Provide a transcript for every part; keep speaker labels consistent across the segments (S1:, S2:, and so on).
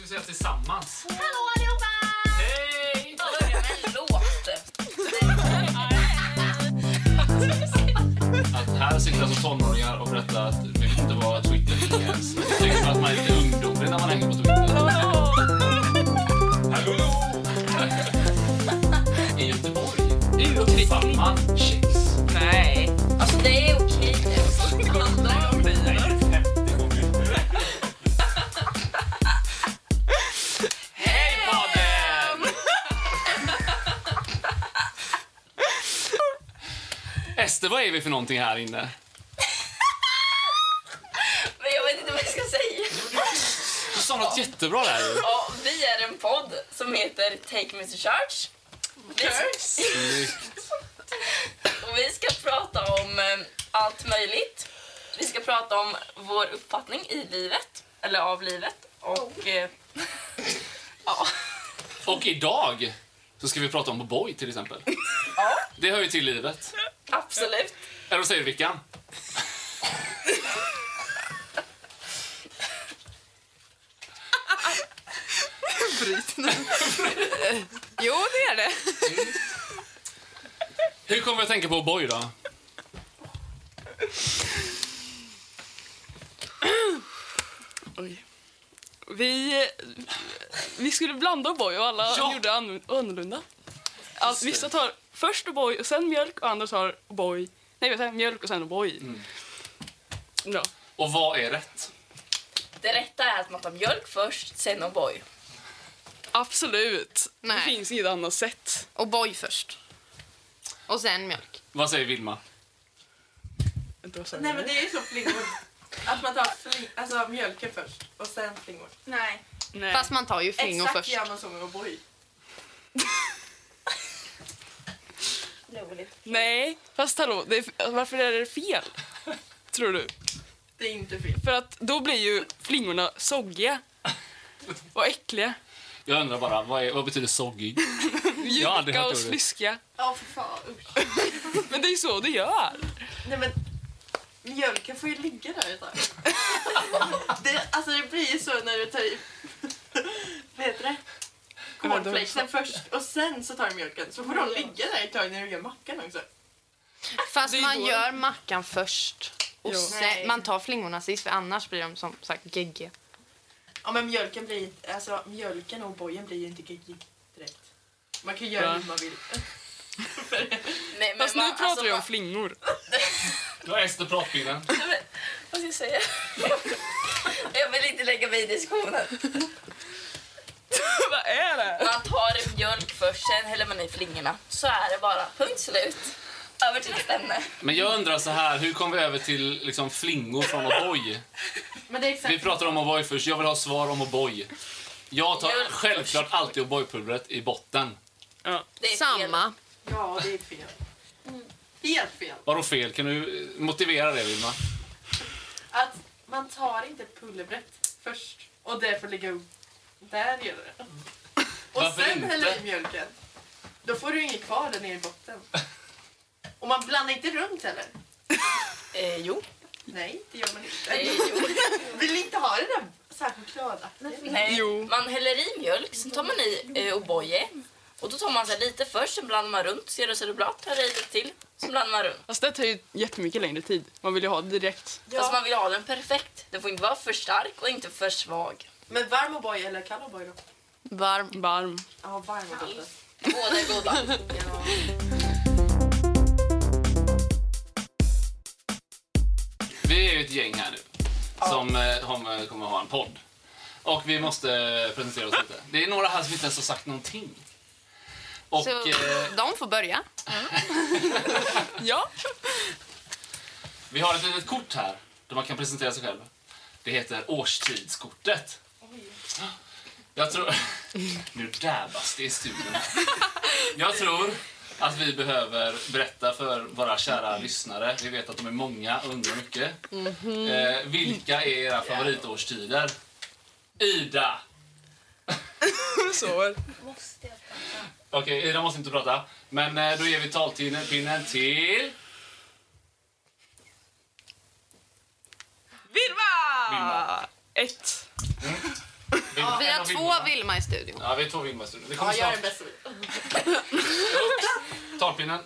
S1: vi säga tillsammans.
S2: Hallå allihopa!
S1: Hej!
S2: Börja med en låt.
S1: Att här sitter alltså tonåringar och berättar att vi vet inte vad Twitter är ens. Jag tycker att man är lite ungdomlig när man hänger på Twitter. Hallå! I Göteborg.
S2: Ur och
S1: Samma chicks.
S2: Nej. Alltså det är okej. Alla de bilar.
S1: Hej
S2: Eh,
S1: podden! Ester, vad är vi för någonting här inne?
S2: Men jag vet inte vad jag ska säga.
S1: Du sa något jättebra där ju.
S2: Ja, vi är en podd som heter Take Me To Church. Vi, och vi ska prata om eh, allt möjligt. Vi ska prata om vår uppfattning i livet, eller av livet. Och... Eh, ja.
S1: Och idag så ska vi prata om Boy till exempel.
S2: ja,
S1: Det hör ju till livet.
S2: absolut.
S1: Eller vad säger du, Vickan?
S3: Jo, det är det.
S1: Hur kommer vi att tänka på Boy då?
S3: Vi, vi skulle blanda O'boy och alla
S1: Ja.
S3: gjorde an, annorlunda. Alltså, vissa tar först O'boy och sen mjölk och andra tar O'boy. Nej, vänta, mjölk och sen O'boy.
S1: Mm.
S3: Bra.
S1: Och vad är rätt?
S2: Det rätta är att man tar mjölk först, sen O'boy.
S3: Absolut.
S4: Nej.
S3: Det finns inget annat sätt.
S4: Och boy först. Och sen mjölk.
S1: Vad säger Vilma?
S3: Vänta, vad sa jag
S5: Nej
S3: nu?
S5: men det är ju så flingor. Att man tar fling, alltså, mjölken först och sen flingor.
S2: Nej.
S3: Nej.
S4: Fast man tar ju flingor
S5: Exakt
S4: först.
S5: gör man så med O'boy.
S2: Roligt.
S3: Nej, fast hallå, det är, varför är det fel? Tror du?
S5: Det är inte fel.
S3: För att då blir ju flingorna soggiga. Och äckliga.
S1: Jag undrar bara, vad, är, vad betyder soggig? Jag har aldrig
S3: Mjuka
S1: hört
S3: och
S1: ordet.
S3: sliskiga.
S5: Ja för fan usch.
S3: Men det är ju så det gör.
S5: Nej men mjölken får ju ligga där ett tag. det, alltså det blir ju så när du tar i... Vad heter det? Cornflakesen först och sen så tar du mjölken. Så får de ligga där ett tag när du gör mackan också.
S4: Fast
S3: Det är
S4: man
S3: då-
S4: gör mackan först. Och
S3: Ja.
S5: Nej.
S4: sen, man tar flingorna sist för annars blir de som sagt geggiga.
S5: Ja men mjölken blir alltså mjölken och bojen blir ju inte geggig direkt. Man kan ju göra
S3: Va?
S5: hur man vill.
S2: Nej, men
S3: Fast nu
S2: man-
S3: pratar
S2: alltså,
S3: vi om
S2: man-
S3: flingor.
S1: Du har Ester pratpinnen.
S2: Vad ska jag säga? jag vill inte lägga mig i diskussionen.
S3: Vad är det?
S2: Man tar mjölk först, sen häller man i flingorna. Så är det bara. Punkt slut. Över till nästa ämne.
S1: Men jag undrar så här, hur kom vi över till liksom flingor från O'boy?
S5: Men det är exakt
S1: Vi pratar om O'boy först, jag vill ha svar om O'boy. Jag tar
S2: Mjölk
S1: självklart alltid O'boy-pulvret i botten.
S3: Ja.
S2: Det är fel.
S4: Samma.
S5: Ja, det är fel. Helt fel.
S1: Vadå fel? Kan du eh, motivera det, Vilma?
S5: Att man tar inte pulverbrett först och det får ligga upp. Där gör det. Och
S1: Mm. Varför
S5: sen
S1: inte?
S5: häller i mjölken. Då får du inget kvar där nere i botten. Och man blandar inte runt heller.
S2: Eh, jo.
S5: Nej, det gör man
S2: Eh,
S5: inte.
S2: jo.
S5: Vill inte ha det där så här chokladaktiga.
S2: Nej.
S3: Jo.
S2: Man häller i mjölk, sen tar man i eh, O'boye. Och då tar man så här lite först, sen blandar man runt. Ser du så är det bra, tar i lite till. Sen blandar man runt.
S3: Alltså det tar ju jättemycket längre tid. Man vill ju ha det direkt.
S2: Fast Alltså, man vill ha den perfekt. Den får inte vara för stark och inte för svag.
S5: Men varm och boy eller kall och boy då?
S4: Varm.
S3: Varm.
S5: Ja, varm och botten.
S2: Båda är goda.
S5: Ja.
S1: Vi är ju ett gäng här nu som eh, har- kommer att ha en podd. Och vi måste eh, presentera oss lite. Det är några här som inte ens har sagt någonting. Och
S4: Så
S1: eh,
S4: de får börja.
S3: Ja.
S1: vi har ett litet kort här där man kan presentera sig själv. Det heter årstidskortet. Jag tror... Nu dabbas det i studion. Jag tror att vi behöver berätta för våra kära lyssnare, vi vet att de är många och undrar mycket, eh, vilka är era favoritårstider? Ida!
S3: Så är
S1: Okej, Ida måste inte prata. Men eh, då ger vi talpinnen till...
S3: Vilma!
S1: Vilma.
S3: Ett.
S4: Vi
S1: en
S4: har
S1: av Vilmarna.
S4: två Vilma i studion.
S1: Ja, vi har två Vilma i studion. Det kommer
S5: Ja, jag är den
S1: snart.
S5: bästa.
S1: Upp. Talpinnen.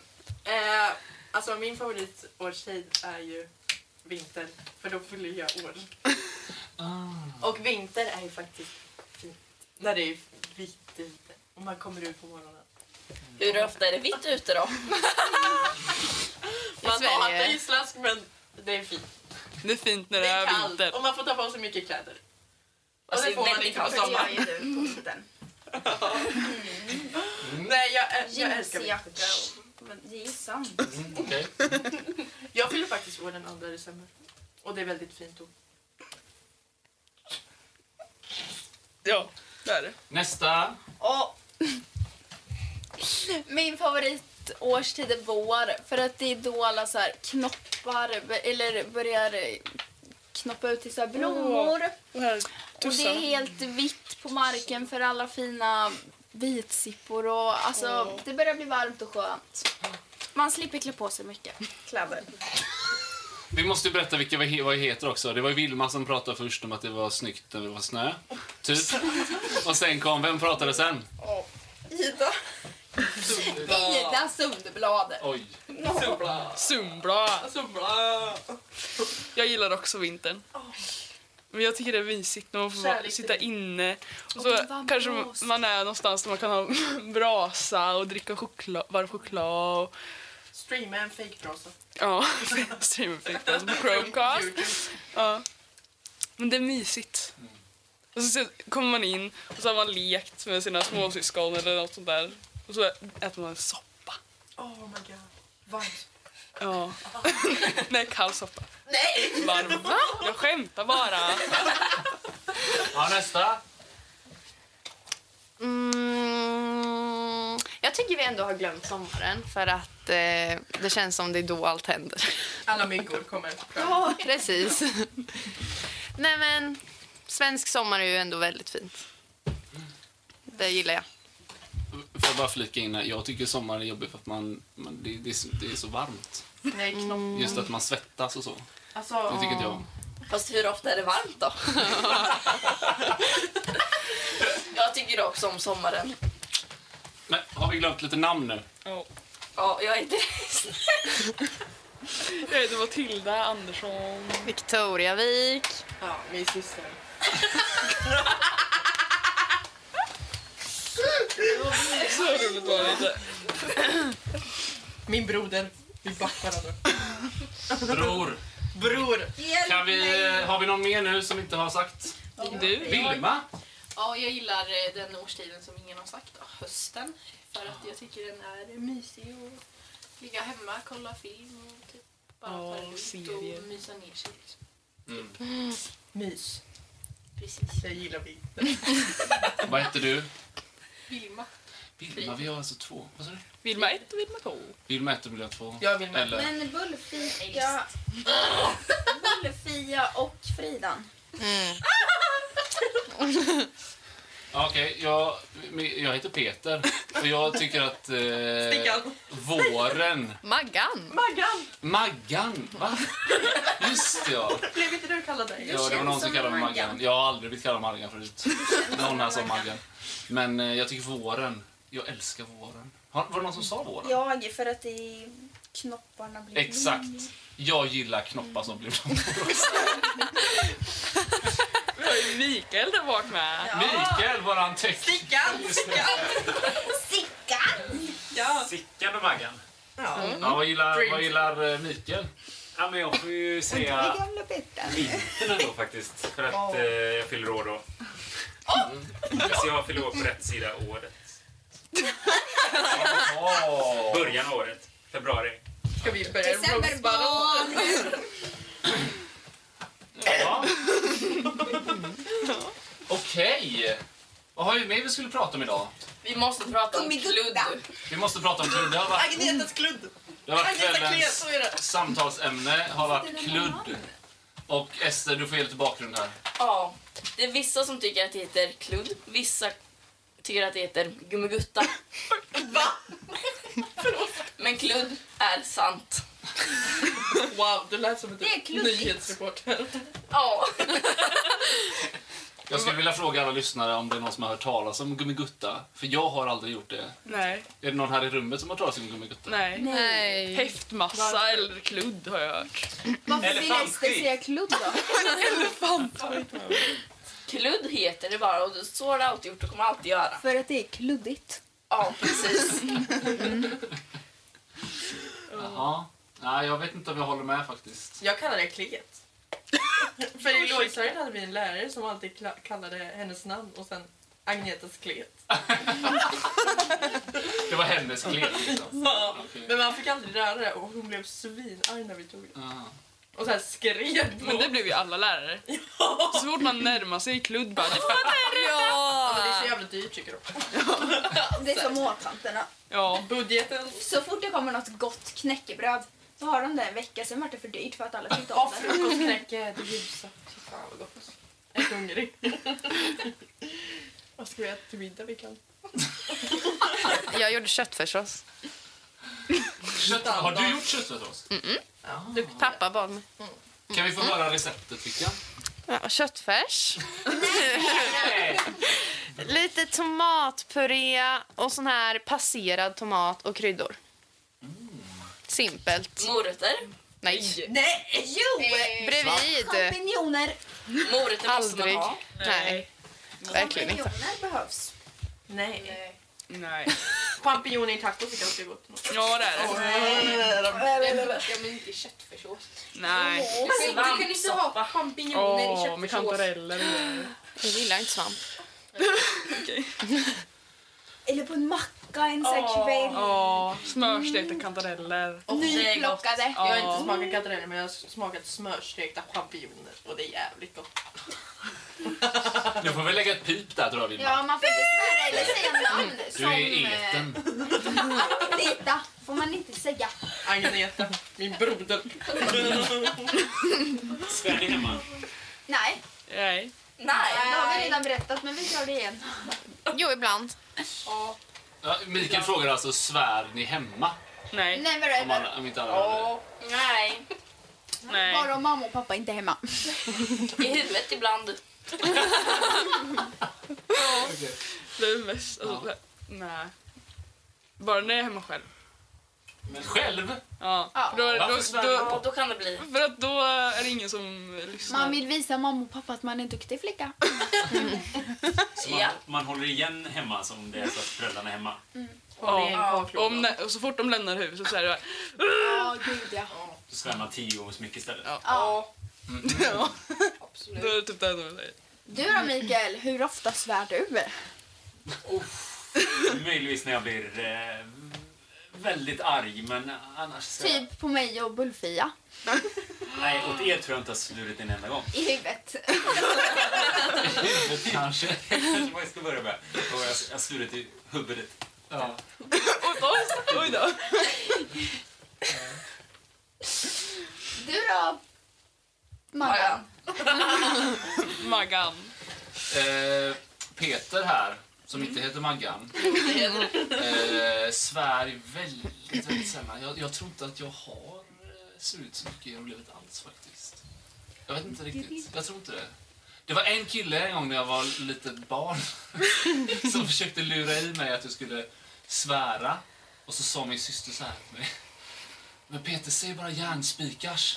S5: Eh, alltså min favoritårstid är ju vinter. För då fyller jag år.
S1: Ah.
S5: Och vinter är ju faktiskt fint. När det är vitt ute. Och man kommer ut på morgonen.
S2: Hur ofta är det vitt ute då?
S4: I
S5: Man hatar ju
S4: Sverige.
S5: slask men det är fint.
S3: Det är fint när
S5: Det
S3: det
S5: är
S3: är
S5: kallt
S3: vinter.
S5: och man får ta på sig mycket kläder.
S2: Alltså,
S5: och det får man
S2: väldigt
S5: inte på
S2: kallt.
S5: sommaren. Nej, jag, äl- jag älskar vinter.
S6: Jeansjacka och men jeansan.
S1: Mm, okej.
S5: Jag fyller faktiskt år den 2 december. Och det är väldigt fint då.
S3: Ja, det är det.
S1: Nästa.
S6: Och min favoritårstid är vår för att det är då alla så här knoppar b- eller börjar eh, knoppa ut till så här blommor.
S3: Det här
S6: Och det är
S3: tussarna.
S6: helt vitt på marken för alla fina vitsippor och alltså det börjar bli varmt och skönt. Man slipper klä på sig mycket.
S2: Kläder.
S1: Vi måste ju berätta vilka vi he- vad vi heter också. Det var ju Vilma som pratade först om att det var snyggt när det var snö. Typ. Och sen kom, vem pratade sen?
S6: Ida. Ida Sundblad.
S1: Oj.
S3: Zumbla.
S5: Alltså bra!
S3: Jag gillar också vintern. Men jag tycker det är mysigt när man får vara,
S5: Kärlek till
S3: sitta inne. Och så
S6: Och varm
S3: kanske
S6: brasa.
S3: man är någonstans där man kan ha brasa och dricka choklad, varm choklad. Och,
S5: Streama en fejkbrasa.
S3: ja, streamingeffekt alltså på Chromecast. Ja. Men det är mysigt. Och så sit- kommer man in och så har man lekt med sina småsyskon eller något sånt där. Och så äter man en soppa.
S5: Oh my god. Varmt.
S3: Ja. Nej, kall soppa. Nej! Varm. Va? Jag skämtar bara.
S1: Ja, nästa.
S4: Mm, jag tycker vi ändå har glömt sommaren för att eh, det känns som det är då allt händer.
S5: Alla myggor kommer fram.
S4: Ja, precis. Nej men, svensk sommar är ju ändå väldigt fint. Det gillar jag.
S1: Får jag bara flika in här. Jag tycker sommar är jobbigt för att man, man det, det, är så, det är så varmt.
S5: Nej, knopp.
S1: Just att man svettas och så. Det
S5: Alltså,
S1: tycker inte jag om.
S2: Fast hur ofta är det varmt då? jag tycker också om sommaren.
S1: Men har vi glömt lite namn nu?
S3: Ja.
S2: Ja, jag är inte...
S3: Jag heter Matilda Andersson.
S4: Victoriavik.
S5: ja, min syster.
S3: Så roligt var det inte.
S5: Min broder. Vi backar varandra.
S1: Bror.
S5: Bror!
S1: Kan vi, har vi någon mer nu som inte har sagt?
S3: Du?
S1: Vilma?
S6: Ja, jag gillar eh, den årstiden som ingen har sagt då, hösten. För att jag tycker den är eh, mysig och ligga hemma, kolla film och typ bara
S3: Ja,
S6: ta det lugnt
S3: serier.
S6: och mysa ner sig. liksom.
S5: Mys.
S6: Precis.
S5: Det gillar vi.
S1: Vad heter du?
S6: Vilma.
S1: Vilma, vi har alltså två. Vad sa du?
S3: Vilma 1 och Vilma 2.
S1: Vilma 1 och Vilma 2.
S5: Jag vill med.
S1: Eller?
S6: Men Bullfia... Bullfia och Fridan.
S1: Ja, Okej, jag, men jag heter Peter och jag tycker att eh,
S5: Stickan.
S1: våren...
S4: Maggan.
S5: Maggan!
S1: Maggan, va? Just det, ja.
S5: Blev inte du kallad det?
S1: ja det var någon som
S6: som
S1: kallade mig
S6: Maggan.
S1: Maggan. Jag har aldrig blivit kallad Maggan förut. Någon här sa Maggan. Men eh, jag tycker våren. Jag älskar våren. Har, var det någon som sa våren?
S6: Jag, för att det knopparna blir
S1: Exakt. Jag gillar knoppar som blir blommor också.
S3: Vi har ju Mikael där bak med.
S1: Mikael, våran tekniker.
S5: Stickan! Stickan! Ja.
S7: Sickan och Maggan.
S5: ja.
S1: Ja, vad gillar, vad gillar eh, Mikael?
S7: Ja, men jag får ju säga vintern ändå faktiskt. För att eh, jag fyller år då. Så jag fyller år på rätt sida av året. Början av året. Februari.
S5: Ska vi börja roastballong?
S1: Ja. Okej. Vad har vi mer vi skulle prata om idag?
S2: Vi måste prata om kludd.
S1: Vi måste prata om kludd. Det har varit,
S5: Agnetas kludd!
S1: det har varit
S5: Agneta Klet,
S1: kvällens
S5: så är det.
S1: samtalsämne. har varit kludd. Och Ester, du får ge lite bakgrund här.
S2: Ja, det är vissa som tycker att det heter kludd. Vissa tycker att det heter gummigutta. Va? Men kludd är sant.
S5: Wow, du lät som en
S6: Det är kluddigt.
S5: nyhetsreporter.
S2: Ja.
S1: Jag skulle vilja fråga alla lyssnare om det är någon som har hört talas om Gummigutta. För jag har aldrig gjort det.
S3: Nej.
S1: Är det någon här i rummet som har hört talas om Gummigutta?
S3: Nej.
S4: Nej.
S3: Häftmassa eller kludd har jag hört.
S8: Varför vill
S7: Elefantskit.
S8: hästen säga kludd då?
S2: Kludd heter det bara och så har det alltid gjort och kommer alltid göra.
S8: För att det är kluddigt.
S2: Ja, precis.
S1: Jaha. Nej, jag vet inte om jag håller med faktiskt.
S5: Jag kallar det klet. För i lågstadiet hade vi en lärare som alltid kla- kallade hennes namn och sen Agnetas klet.
S1: Det var hennes klet liksom. Okej.
S5: Men man fick aldrig röra det och hon blev svinarg när vi tog det.
S1: Ah.
S5: Och sen skrek
S3: Men det
S5: hon.
S3: blev ju alla lärare. Så fort man närmar sig kludd bara...
S5: Ja, men Det är
S4: Ja.
S5: så jävla dyrt tycker de.
S8: Det är som åtanterna.
S3: Ja.
S5: Budgeten.
S8: Så fort det kommer något gott knäckebröd så har de det en vecka, sen vart det för dyrt för att alla tyckte om
S5: Ja,
S8: det.
S5: frukostknäcke, det ljusa. Fy fan vad gott. Jag är så hungrig. Vad ska vi äta till middag ikväll?
S4: Jag gjorde köttfärssås.
S1: Kött, har du gjort köttfärssås?
S4: Pappa bad mig.
S1: Kan vi få höra receptet, Vickan?
S4: Ja, köttfärs. Lite tomatpuré och sån här passerad tomat och kryddor. Simpelt.
S2: Morötter.
S4: Nej.
S8: Nej! Jo!
S4: Bredvid.
S8: Eh, Champinjoner!
S2: Morötter måste man
S4: Aldrig.
S2: ha.
S4: Nej. Verkligen inte.
S8: Champinjoner behövs.
S5: Nej.
S3: Nej.
S5: Champinjoner i tacos är ganska gott.
S3: Ja, det är det.
S6: Ja, men inte köttfärssås.
S3: Nej.
S2: Alltså,
S6: Du kan inte ha
S3: Åh,
S6: champinjoner i
S3: med
S6: köttfärssås.
S3: kantareller och grejer.
S4: Jag gillar inte svamp.
S8: Eller på en macka en sån här kväll.
S3: Ja, smörstekta kantareller.
S8: Nyplockade.
S5: Jag har inte
S3: Ja.
S5: smakat kantareller men jag har smakat smörstekta champinjoner och det är jävligt gott.
S1: Nu får vi lägga ett pip där, tror jag, Vilma.
S8: Ja, man får inte svära eller säga namn.
S1: Du är i
S8: eh,
S1: eten.
S8: Agneta får man inte säga.
S5: Agneta, min broder.
S7: Sven är hemma.
S8: Nej,
S3: Nej.
S2: Nej.
S8: det har vi redan berättat men vi kör det igen.
S4: Jo, ibland.
S1: Ja, Mikael frågar alltså, svär ni hemma?
S3: Nej.
S8: Never
S1: Om, man,
S8: ever.
S1: om inte alla hör det.
S2: Nej.
S3: Nej.
S8: Bara om mamma och pappa inte är hemma.
S2: I huvudet ibland.
S3: Det är mest... Alltså, Nej. Bara när jag är hemma själv.
S1: Men själv?
S3: Ja.
S8: Ja.
S3: För, då, är-
S1: Varför
S3: då,
S1: svär
S3: då,
S2: Ja, då kan det bli.
S3: för att då är det ingen som lyssnar.
S8: Man vill visa mamma och pappa att man är en duktig flicka.
S7: Så man,
S2: Ja.
S7: man håller igen hemma som det är så att föräldrarna är hemma.
S3: Ja. Om, när- och så fort de lämnar huset så är det bara...
S8: Ja, gud ja.
S7: Då svär man tio gånger så mycket istället.
S3: Ja.
S8: ja.
S3: Ja. Då är det typ det enda de säger.
S8: Du då Mikael, hur ofta svär du?
S7: Möjligtvis när jag blir eh, väldigt arg, men annars... Så,
S8: Typ på mig och Bullfia.
S7: Nej, åt er tror jag inte jag har svurit en enda gång.
S8: I huvudet.
S1: Kanske.
S7: Kanske vad jag ska börja med. Och jag jag har svurit i huvudet.
S1: Ja.
S3: Oj, oj då.
S8: Du då? Maggan.
S3: Maggan.
S1: Eh, Peter här, som inte heter Maggan, eh, svär väldigt, väldigt sällan. Jag, jag tror inte att jag har eh, svurit så mycket genom livet alls faktiskt. Jag vet inte riktigt. Jag tror inte det. Det var en kille en gång när jag var litet barn som försökte lura i mig att jag skulle svära. Och så sa min syster så här till mig. Men Peter, säg bara järnspikars.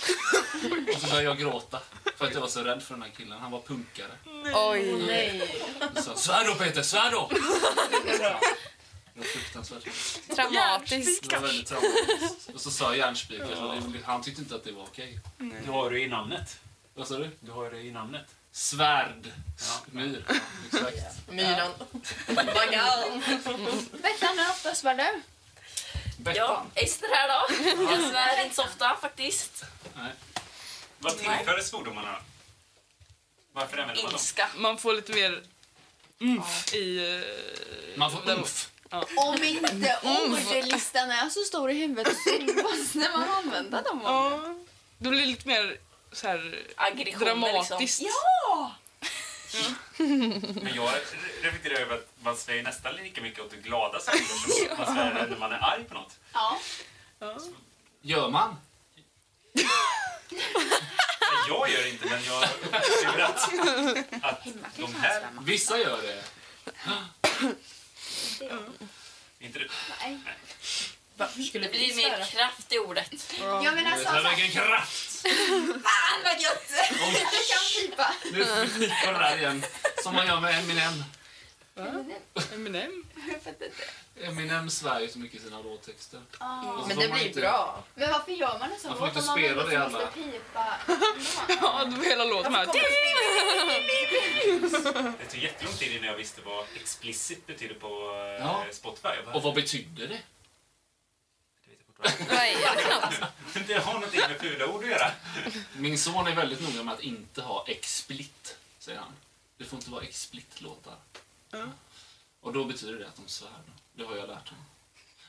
S1: Och så började jag gråta för att jag var så rädd för den här killen. Han var punkare.
S4: Oj.
S5: Nej.
S1: Så, svär då Peter, svär då! Ja, Det var fruktansvärt.
S4: Traumatiskt.
S1: Det var väldigt traumatiskt. Och så sa jag järnspikar, så det- han tyckte inte att det var okej.
S7: Du har det i namnet.
S1: Vad sa du?
S7: Du har det i namnet.
S1: Svärd.
S7: Ja.
S1: Myr. Ja, Exakt.
S5: Myran. Baggan.
S8: Vänta, hur ofta svär du?
S2: Ja,
S1: Bettan.
S2: Ester här då. Jag svär inte så ofta faktiskt.
S1: Nej.
S7: Vad tillför svordomarna då? Varför använder man dem?
S2: Ilska.
S3: Man får lite mer umf i... eh,
S1: Man får
S3: den-
S1: umf.
S8: Om inte ordlistan är så stor i huvudet så är det bara när man använder dem.
S3: Ja. Det blir lite mer så här
S2: Aggressioner
S3: dramatiskt.
S2: liksom.
S7: Men jag re- reflekterar över att man svär ju nästan lika mycket åt det glada saker som man svär när man är arg på något.
S8: Ja.
S1: Gör man?
S7: jag gör inte, men jag upplever att, att
S8: Hemma
S7: de
S8: kanske han
S7: här...
S8: svämmar.
S1: Vissa gör det.
S7: Inte du.
S8: Nej.
S2: Det blir mer kraft i ordet.
S8: Ja men alltså,
S7: Men
S8: alltså
S7: Vilken kraft!
S8: fan vad gött! Jag kan pipa.
S1: Nu var det där igen. Som man gör med Eminem.
S3: Eminem?
S8: Jag vet inte.
S1: Eminem svär ju så mycket i sina låttexter.
S8: Ah.
S1: Och så
S5: Men
S1: får
S5: det
S1: man
S5: blir
S1: inte-
S5: bra.
S8: Men varför gör man en sån
S1: Man får
S8: låt
S1: inte
S8: om man
S1: spela
S8: liksom
S1: det,
S8: måste
S1: alla.
S8: pipa?
S3: Ja, det var hela låten här.
S7: Det tog jättelång tid innan jag visste vad explicit betyder på eh,
S1: Ja.
S7: Spotify. Jag bara,
S1: Och vad betyder det?
S7: det vet jag fortfarande.
S4: Vad är det för något?
S7: Det har någonting med fula ord att göra.
S1: Min son är väldigt noga med att inte ha explit, säger han. Det får inte vara explit-låtar.
S3: Ja.
S1: Och då betyder det att de svär. Det har jag lärt honom.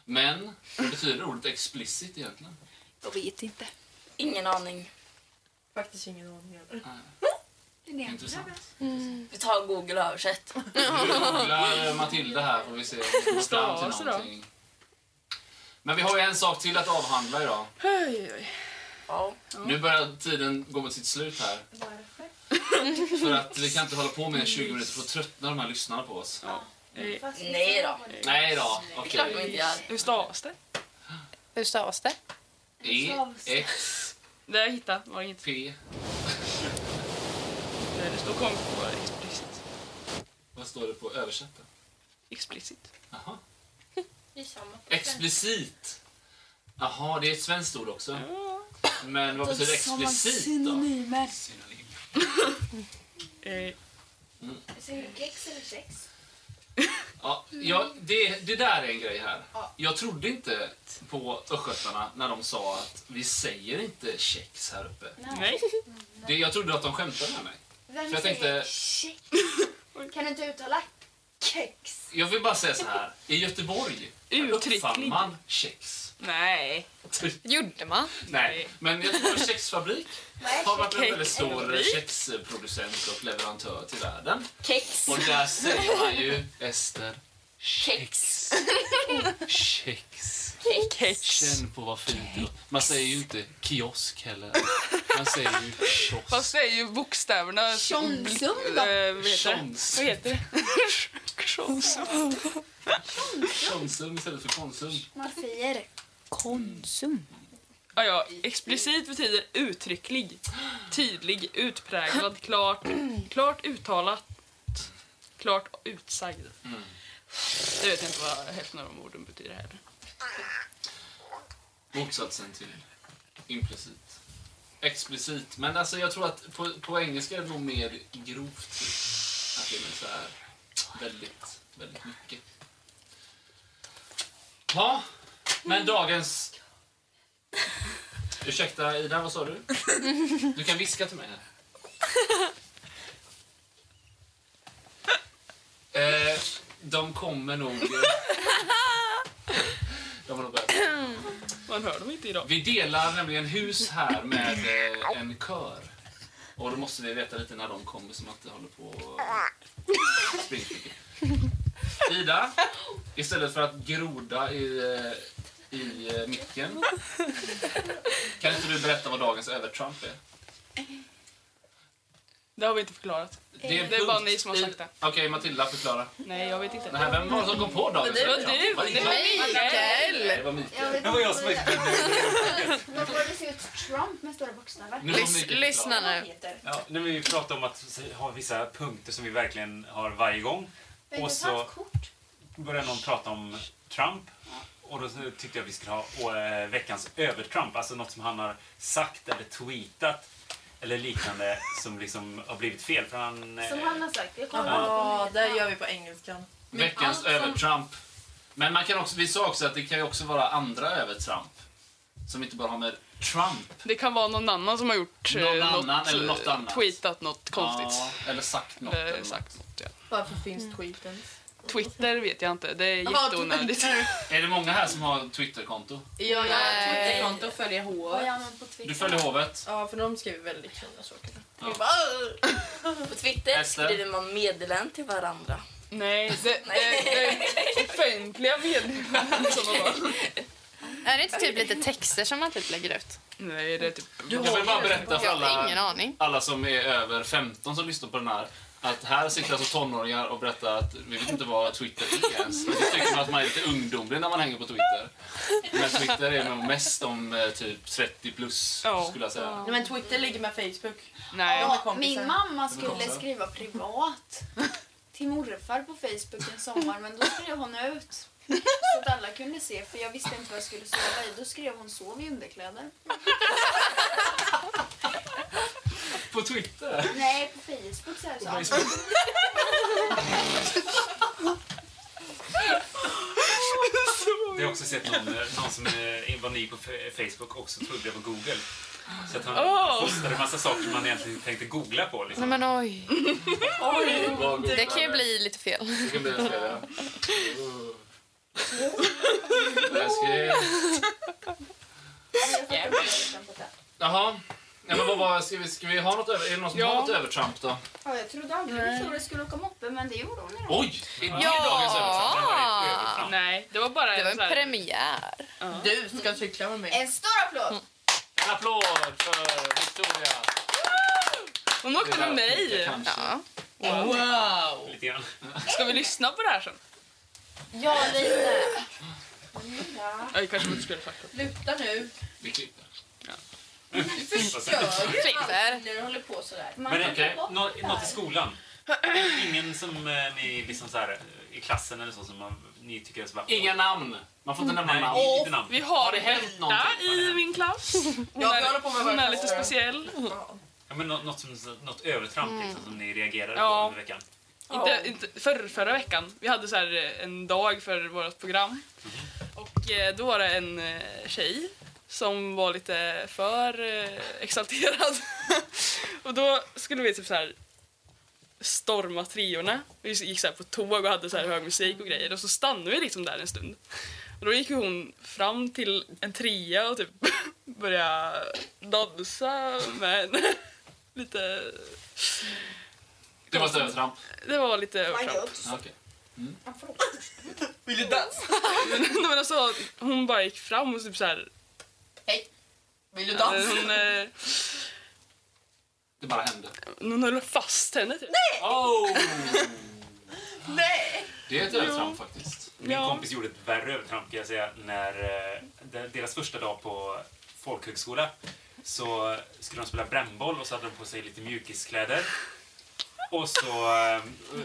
S1: Men vad betyder ordet explicit egentligen?
S8: Jag vet inte.
S2: Ingen aning.
S5: Faktiskt ingen aning heller.
S1: Intressant.
S2: Vi tar Google översätt.
S1: Vi googlar eh, Matilda här får vi se om vi kommer fram
S3: Stavas
S1: till
S3: då?
S1: någonting. Men vi har ju en sak till att avhandla idag.
S3: Oj, oj.
S2: Ja.
S1: Nu börjar tiden gå mot sitt slut här.
S5: Varför?
S1: För att vi kan inte hålla på mer än 20 minuter för då tröttnar de här lyssnarna på oss.
S3: Eh,
S5: Fast
S2: Nej då.
S1: Nej då.
S2: Det är klart de
S1: Okej.
S2: inte gör.
S3: Hur stavas det?
S4: Hur stavas det?
S1: E, X,
S3: Det jag hittade var inget.
S1: P.
S3: Nej, Det står konk på explicit.
S1: Vad står det på översätta?
S3: Explicit.
S1: Jaha.
S6: Det är samma på
S1: Explicit. Jaha, det är ett svenskt ord också. Men vad betyder explicit då? Synonym.
S3: Eh,
S6: Säger du kex eller sex?
S1: Ja, ja, det, det där är en grej här. Jag trodde inte på östgötarna när de sa att vi säger inte kex här uppe.
S3: nej.
S1: Det, jag trodde att de skämtade med mig.
S8: Vem
S1: För jag
S8: säger
S1: tänkte-
S8: shit? Kan du inte uttala kex?
S1: Jag vill bara säga så här. I Göteborg där
S3: Uttrycklig.
S1: uppfann man kex.
S3: Nej.
S4: Gjorde man?
S1: Nej, men jag tror att kexfabrik har varit en väldigt stor
S3: Kexfabrik?
S1: kexproducent och leverantör till världen.
S2: Kex.
S1: Och där säger man ju Ester
S2: Kex.
S1: kex.
S3: Kex.
S1: Känn på vad fint det låter. Man säger ju inte kiosk heller. Man säger ju
S3: Fast
S1: kiosk.
S3: det är ju bokstäverna...
S8: Tjomsum
S3: Eh,
S8: då?
S3: vad heter det?
S1: Tjons.
S3: Vad heter det? Tjomsum.
S1: Tjonsum istället för Konsum.
S8: Man säger konsum.
S3: Ja, ja, explicit betyder uttrycklig, tydlig, utpräglad, klart, klart uttalat, klart utsagd. Jag vet inte vad hälften av de orden betyder heller.
S1: Motsatsen till implicit. Explicit. Men alltså jag tror att på, på engelska är det nog mer grovt. typ, Att det är så här väldigt, väldigt mycket. Ja, men dagens... Ursäkta Ida, vad sa du? Du kan viska till mig här. Eh, de kommer nog... De har nog börjat
S3: Man hör dem inte idag.
S1: vi delar nämligen hus här med eh, en kör. Och då måste vi veta lite när de kommer så man inte håller på och springer för mycket. Ida, istället för att groda i, eh, i eh, micken kan inte du berätta vad dagens övertramp är?
S3: Det har vi inte förklarat.
S1: Det
S3: Det är bara ni som har
S1: i-
S3: sagt det.
S1: Okej, Matilda, förklara.
S3: Nej, jag vet inte.
S1: Nej, vem var det som kom på dagens
S3: Det var
S1: övertramp?
S3: du!
S1: Var det
S3: Det
S1: jag?
S3: var
S4: Mikael!
S1: Nej, det var Mikael.
S8: vet
S7: Det var jag som
S8: inte vad det- Vad får det se ut Trump med stora bokstäver?
S1: Nu var Mikael
S4: Lys-
S1: förklara.
S4: lyssna nu.
S7: Ja, nu vill vi prata om att ha vissa punkter som vi verkligen har varje gång. Och så-
S8: Bengt kort.
S7: började någon prata om Trump. Och då tyckte jag vi skulle ha eh, veckans övertramp. Alltså något som han har sagt eller tweetat eller liknande som liksom har blivit fel. För han, eh,
S8: Som han har sagt. Jag kommer
S5: Ja,
S8: ihåg
S5: det
S8: det.
S5: gör vi på engelskan.
S1: Veckans övertramp. Men man kan också, vi sa också att det kan ju också vara andra övertramp. Som inte bara har med Trump.
S3: Det kan vara någon annan som har gjort eh,
S1: Någon annan
S3: något,
S1: eller
S3: eh,
S1: något annat.
S3: tweetat något konstigt. Eh,
S1: Ja, eller sagt något.
S3: Eller
S1: eller
S3: sagt något, ja.
S5: Varför finns tweeten?
S3: Twitter vet jag inte, det är
S5: Jaha,
S3: jätteonödigt.
S1: något. Är det många här som har Twitterkonto?
S5: Ja, jag har
S4: Nej.
S5: Twitterkonto och följer
S8: Vad
S5: HR.
S8: gör man på Twitter?
S1: Du följer hovet.
S5: Ja, för de skriver väldigt fina saker.
S1: Ja.
S5: Jag bara, "Åh!"
S2: På Twitter
S1: Esther.
S2: skriver man meddelanden till varandra.
S3: Nej, det, det, det är offentliga meddelanden som har varit.
S4: Är det inte typ lite texter som man typ lägger ut?
S3: Nej, det är typ...
S1: Jag vill bara berätta för
S4: Jag har
S1: alla,
S4: ingen aning.
S1: alla som är över 15 som lyssnar på den här att här sitter alltså tonåringar och berättar att vi vet inte vad Twitter är ens. Vi tycker att man är lite ungdomlig när man hänger på Twitter. Men Twitter är nog mest om eh, typ 30 plus
S3: Ja.
S1: skulle jag säga.
S5: Nej, men Twitter ligger med Facebook.
S3: Nej.
S5: Ja.
S8: Ja, min mamma skulle
S1: kompisar.
S8: skriva privat till morfar på Facebook en sommar, men då skrev hon ut. Så att alla kunde se, för jag visste inte vad jag skulle sova i. Då skrev hon sov i underkläder.
S1: På Twitter?
S8: Nej, på Facebook så här så.
S1: Facebook.
S7: Jag har också sett någon, eh, någon som eh, var ny på F- Facebook också trodde det var Google. Så att han
S3: Oh.
S7: postade en massa saker som man egentligen tänkte googla på. Liksom.
S4: Nej men oj.
S1: Vad
S4: Det
S1: googlar
S4: kan ju bli lite fel.
S1: Det kan bli en serie. Läskigt. Jaha. Ja, men vad var, ska, vi, ska vi ha något över, är det någon som
S3: Ja.
S1: har något övertramp då?
S8: Ja, jag trodde aldrig Victoria skulle åka moppe, men det gjorde hon idag.
S1: Oj! Är det
S4: Ja.
S1: dagens övertramp?
S7: Det var
S4: Ah.
S7: ett övertramp.
S3: Nej, det var bara
S4: Det var
S3: så
S4: en
S3: här-
S4: premiär.
S5: Du ska cykla med mig.
S8: En stor applåd!
S1: En applåd för Victoria.
S3: Hon åkte med mig!
S1: Kanske.
S4: Ja.
S5: Wow!
S7: Lite grann.
S3: Ska vi lyssna på det här sen?
S8: Ja, lite.
S3: Jag kanske vi inte skulle faktiskt.
S6: Luta nu.
S1: Vi klipper.
S4: Klipper.
S6: När du håller på sådär.
S8: Man
S7: Men
S8: kan
S1: okej,
S8: ta
S7: okay.
S8: bort det här.
S7: något i skolan? Ingen som eh, ni liksom så här, eh, i klassen eller så som man, ni tycker är så bara...
S1: Inga namn. Man får inte nämna
S7: Nej,
S1: namn.
S7: inte namn.
S3: Vi har,
S1: Har det hänt
S3: Hedda
S1: någonting?
S3: i min klass. Hon
S5: Ja, vi håller
S3: är,
S5: på med
S3: hon
S5: våra
S3: är lite
S5: klasser.
S3: speciell.
S7: Ja, men nå- något, som, något övertramp liksom, som ni reagerade
S3: Ja.
S7: på under veckan.
S3: Inte, inte, förr, förra veckan. Vi hade så här eh, en dag för vårt program. Och eh, då var det en eh, tjej som var lite för eh, exalterad. och då skulle vi typ så här storma triorna. Vi gick så här på tåg och hade så här hög musik och grejer. Och så stannade vi liksom där en stund. Och då gick ju hon fram till en trea och typ började dansa med en lite...
S1: Det var ett övertramp.
S3: Det var lite övertramp.
S1: Okej.
S5: Vill du dansa?
S3: Nej, men alltså, hon bara gick fram och typ så här...
S5: Vill du
S3: Alltså,
S5: dansa?
S3: hon, eh,
S1: Det bara hände.
S3: hon höll fast henne. Typ.
S1: Oh!
S5: Nej!
S1: Det är ett övertramp faktiskt.
S7: Min
S3: Ja.
S7: kompis gjorde ett värre övertramp kan jag säga när eh, de- deras första dag på folkhögskola så skulle de spela brännboll och så hade de på sig lite mjukiskläder. Och så eh,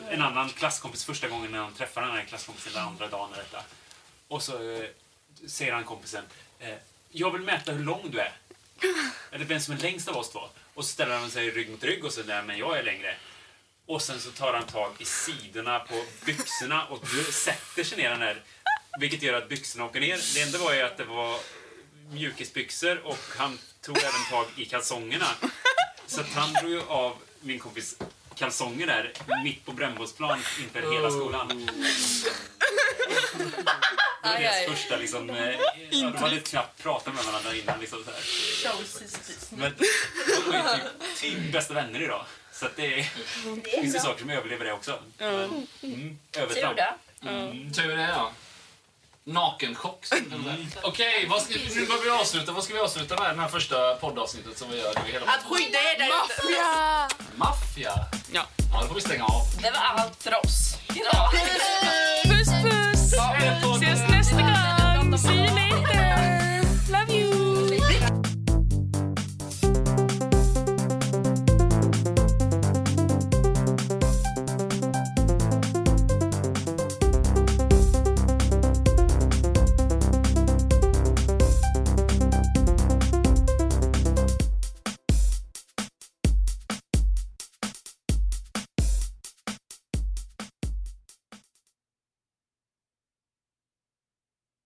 S7: en annan klasskompis första gången när de träffar den här klasskompisen den andra dagen eller detta. Och så eh, säger han kompisen eh, Jag vill mäta hur lång du är. Eller vem som är längst av oss två. Och så ställer han sig rygg mot rygg och så där men jag är längre. Och sen så tar han tag i sidorna på byxorna och sätter sig ner den här. Vilket gör att byxorna åker ner. Det enda var ju att det var mjukisbyxor och han tog även tag i kalsongerna. Så att han drog ju av min kompis kalsonger där mitt på brännbollsplan inför hela skolan. Det var deras första liksom... eh, Ja, de hade knappt pratat med varandra innan liksom så här. Men de är ju typ, typ bästa vänner idag. Så att det är... Det finns ju saker som överlever det också. Men, mm, övertramp.
S1: Tur det, ja. Nakenchock. som den där. Okej, vad ska, nu börjar vi avsluta. Vad ska vi avsluta med? Det här första poddavsnittet som vi gör nu i hela
S5: Att skydda er där ute!
S4: Ja.
S1: Maffia!
S3: Ja.
S1: Ja, då får vi stänga av.
S2: Det var allt för oss. Idag.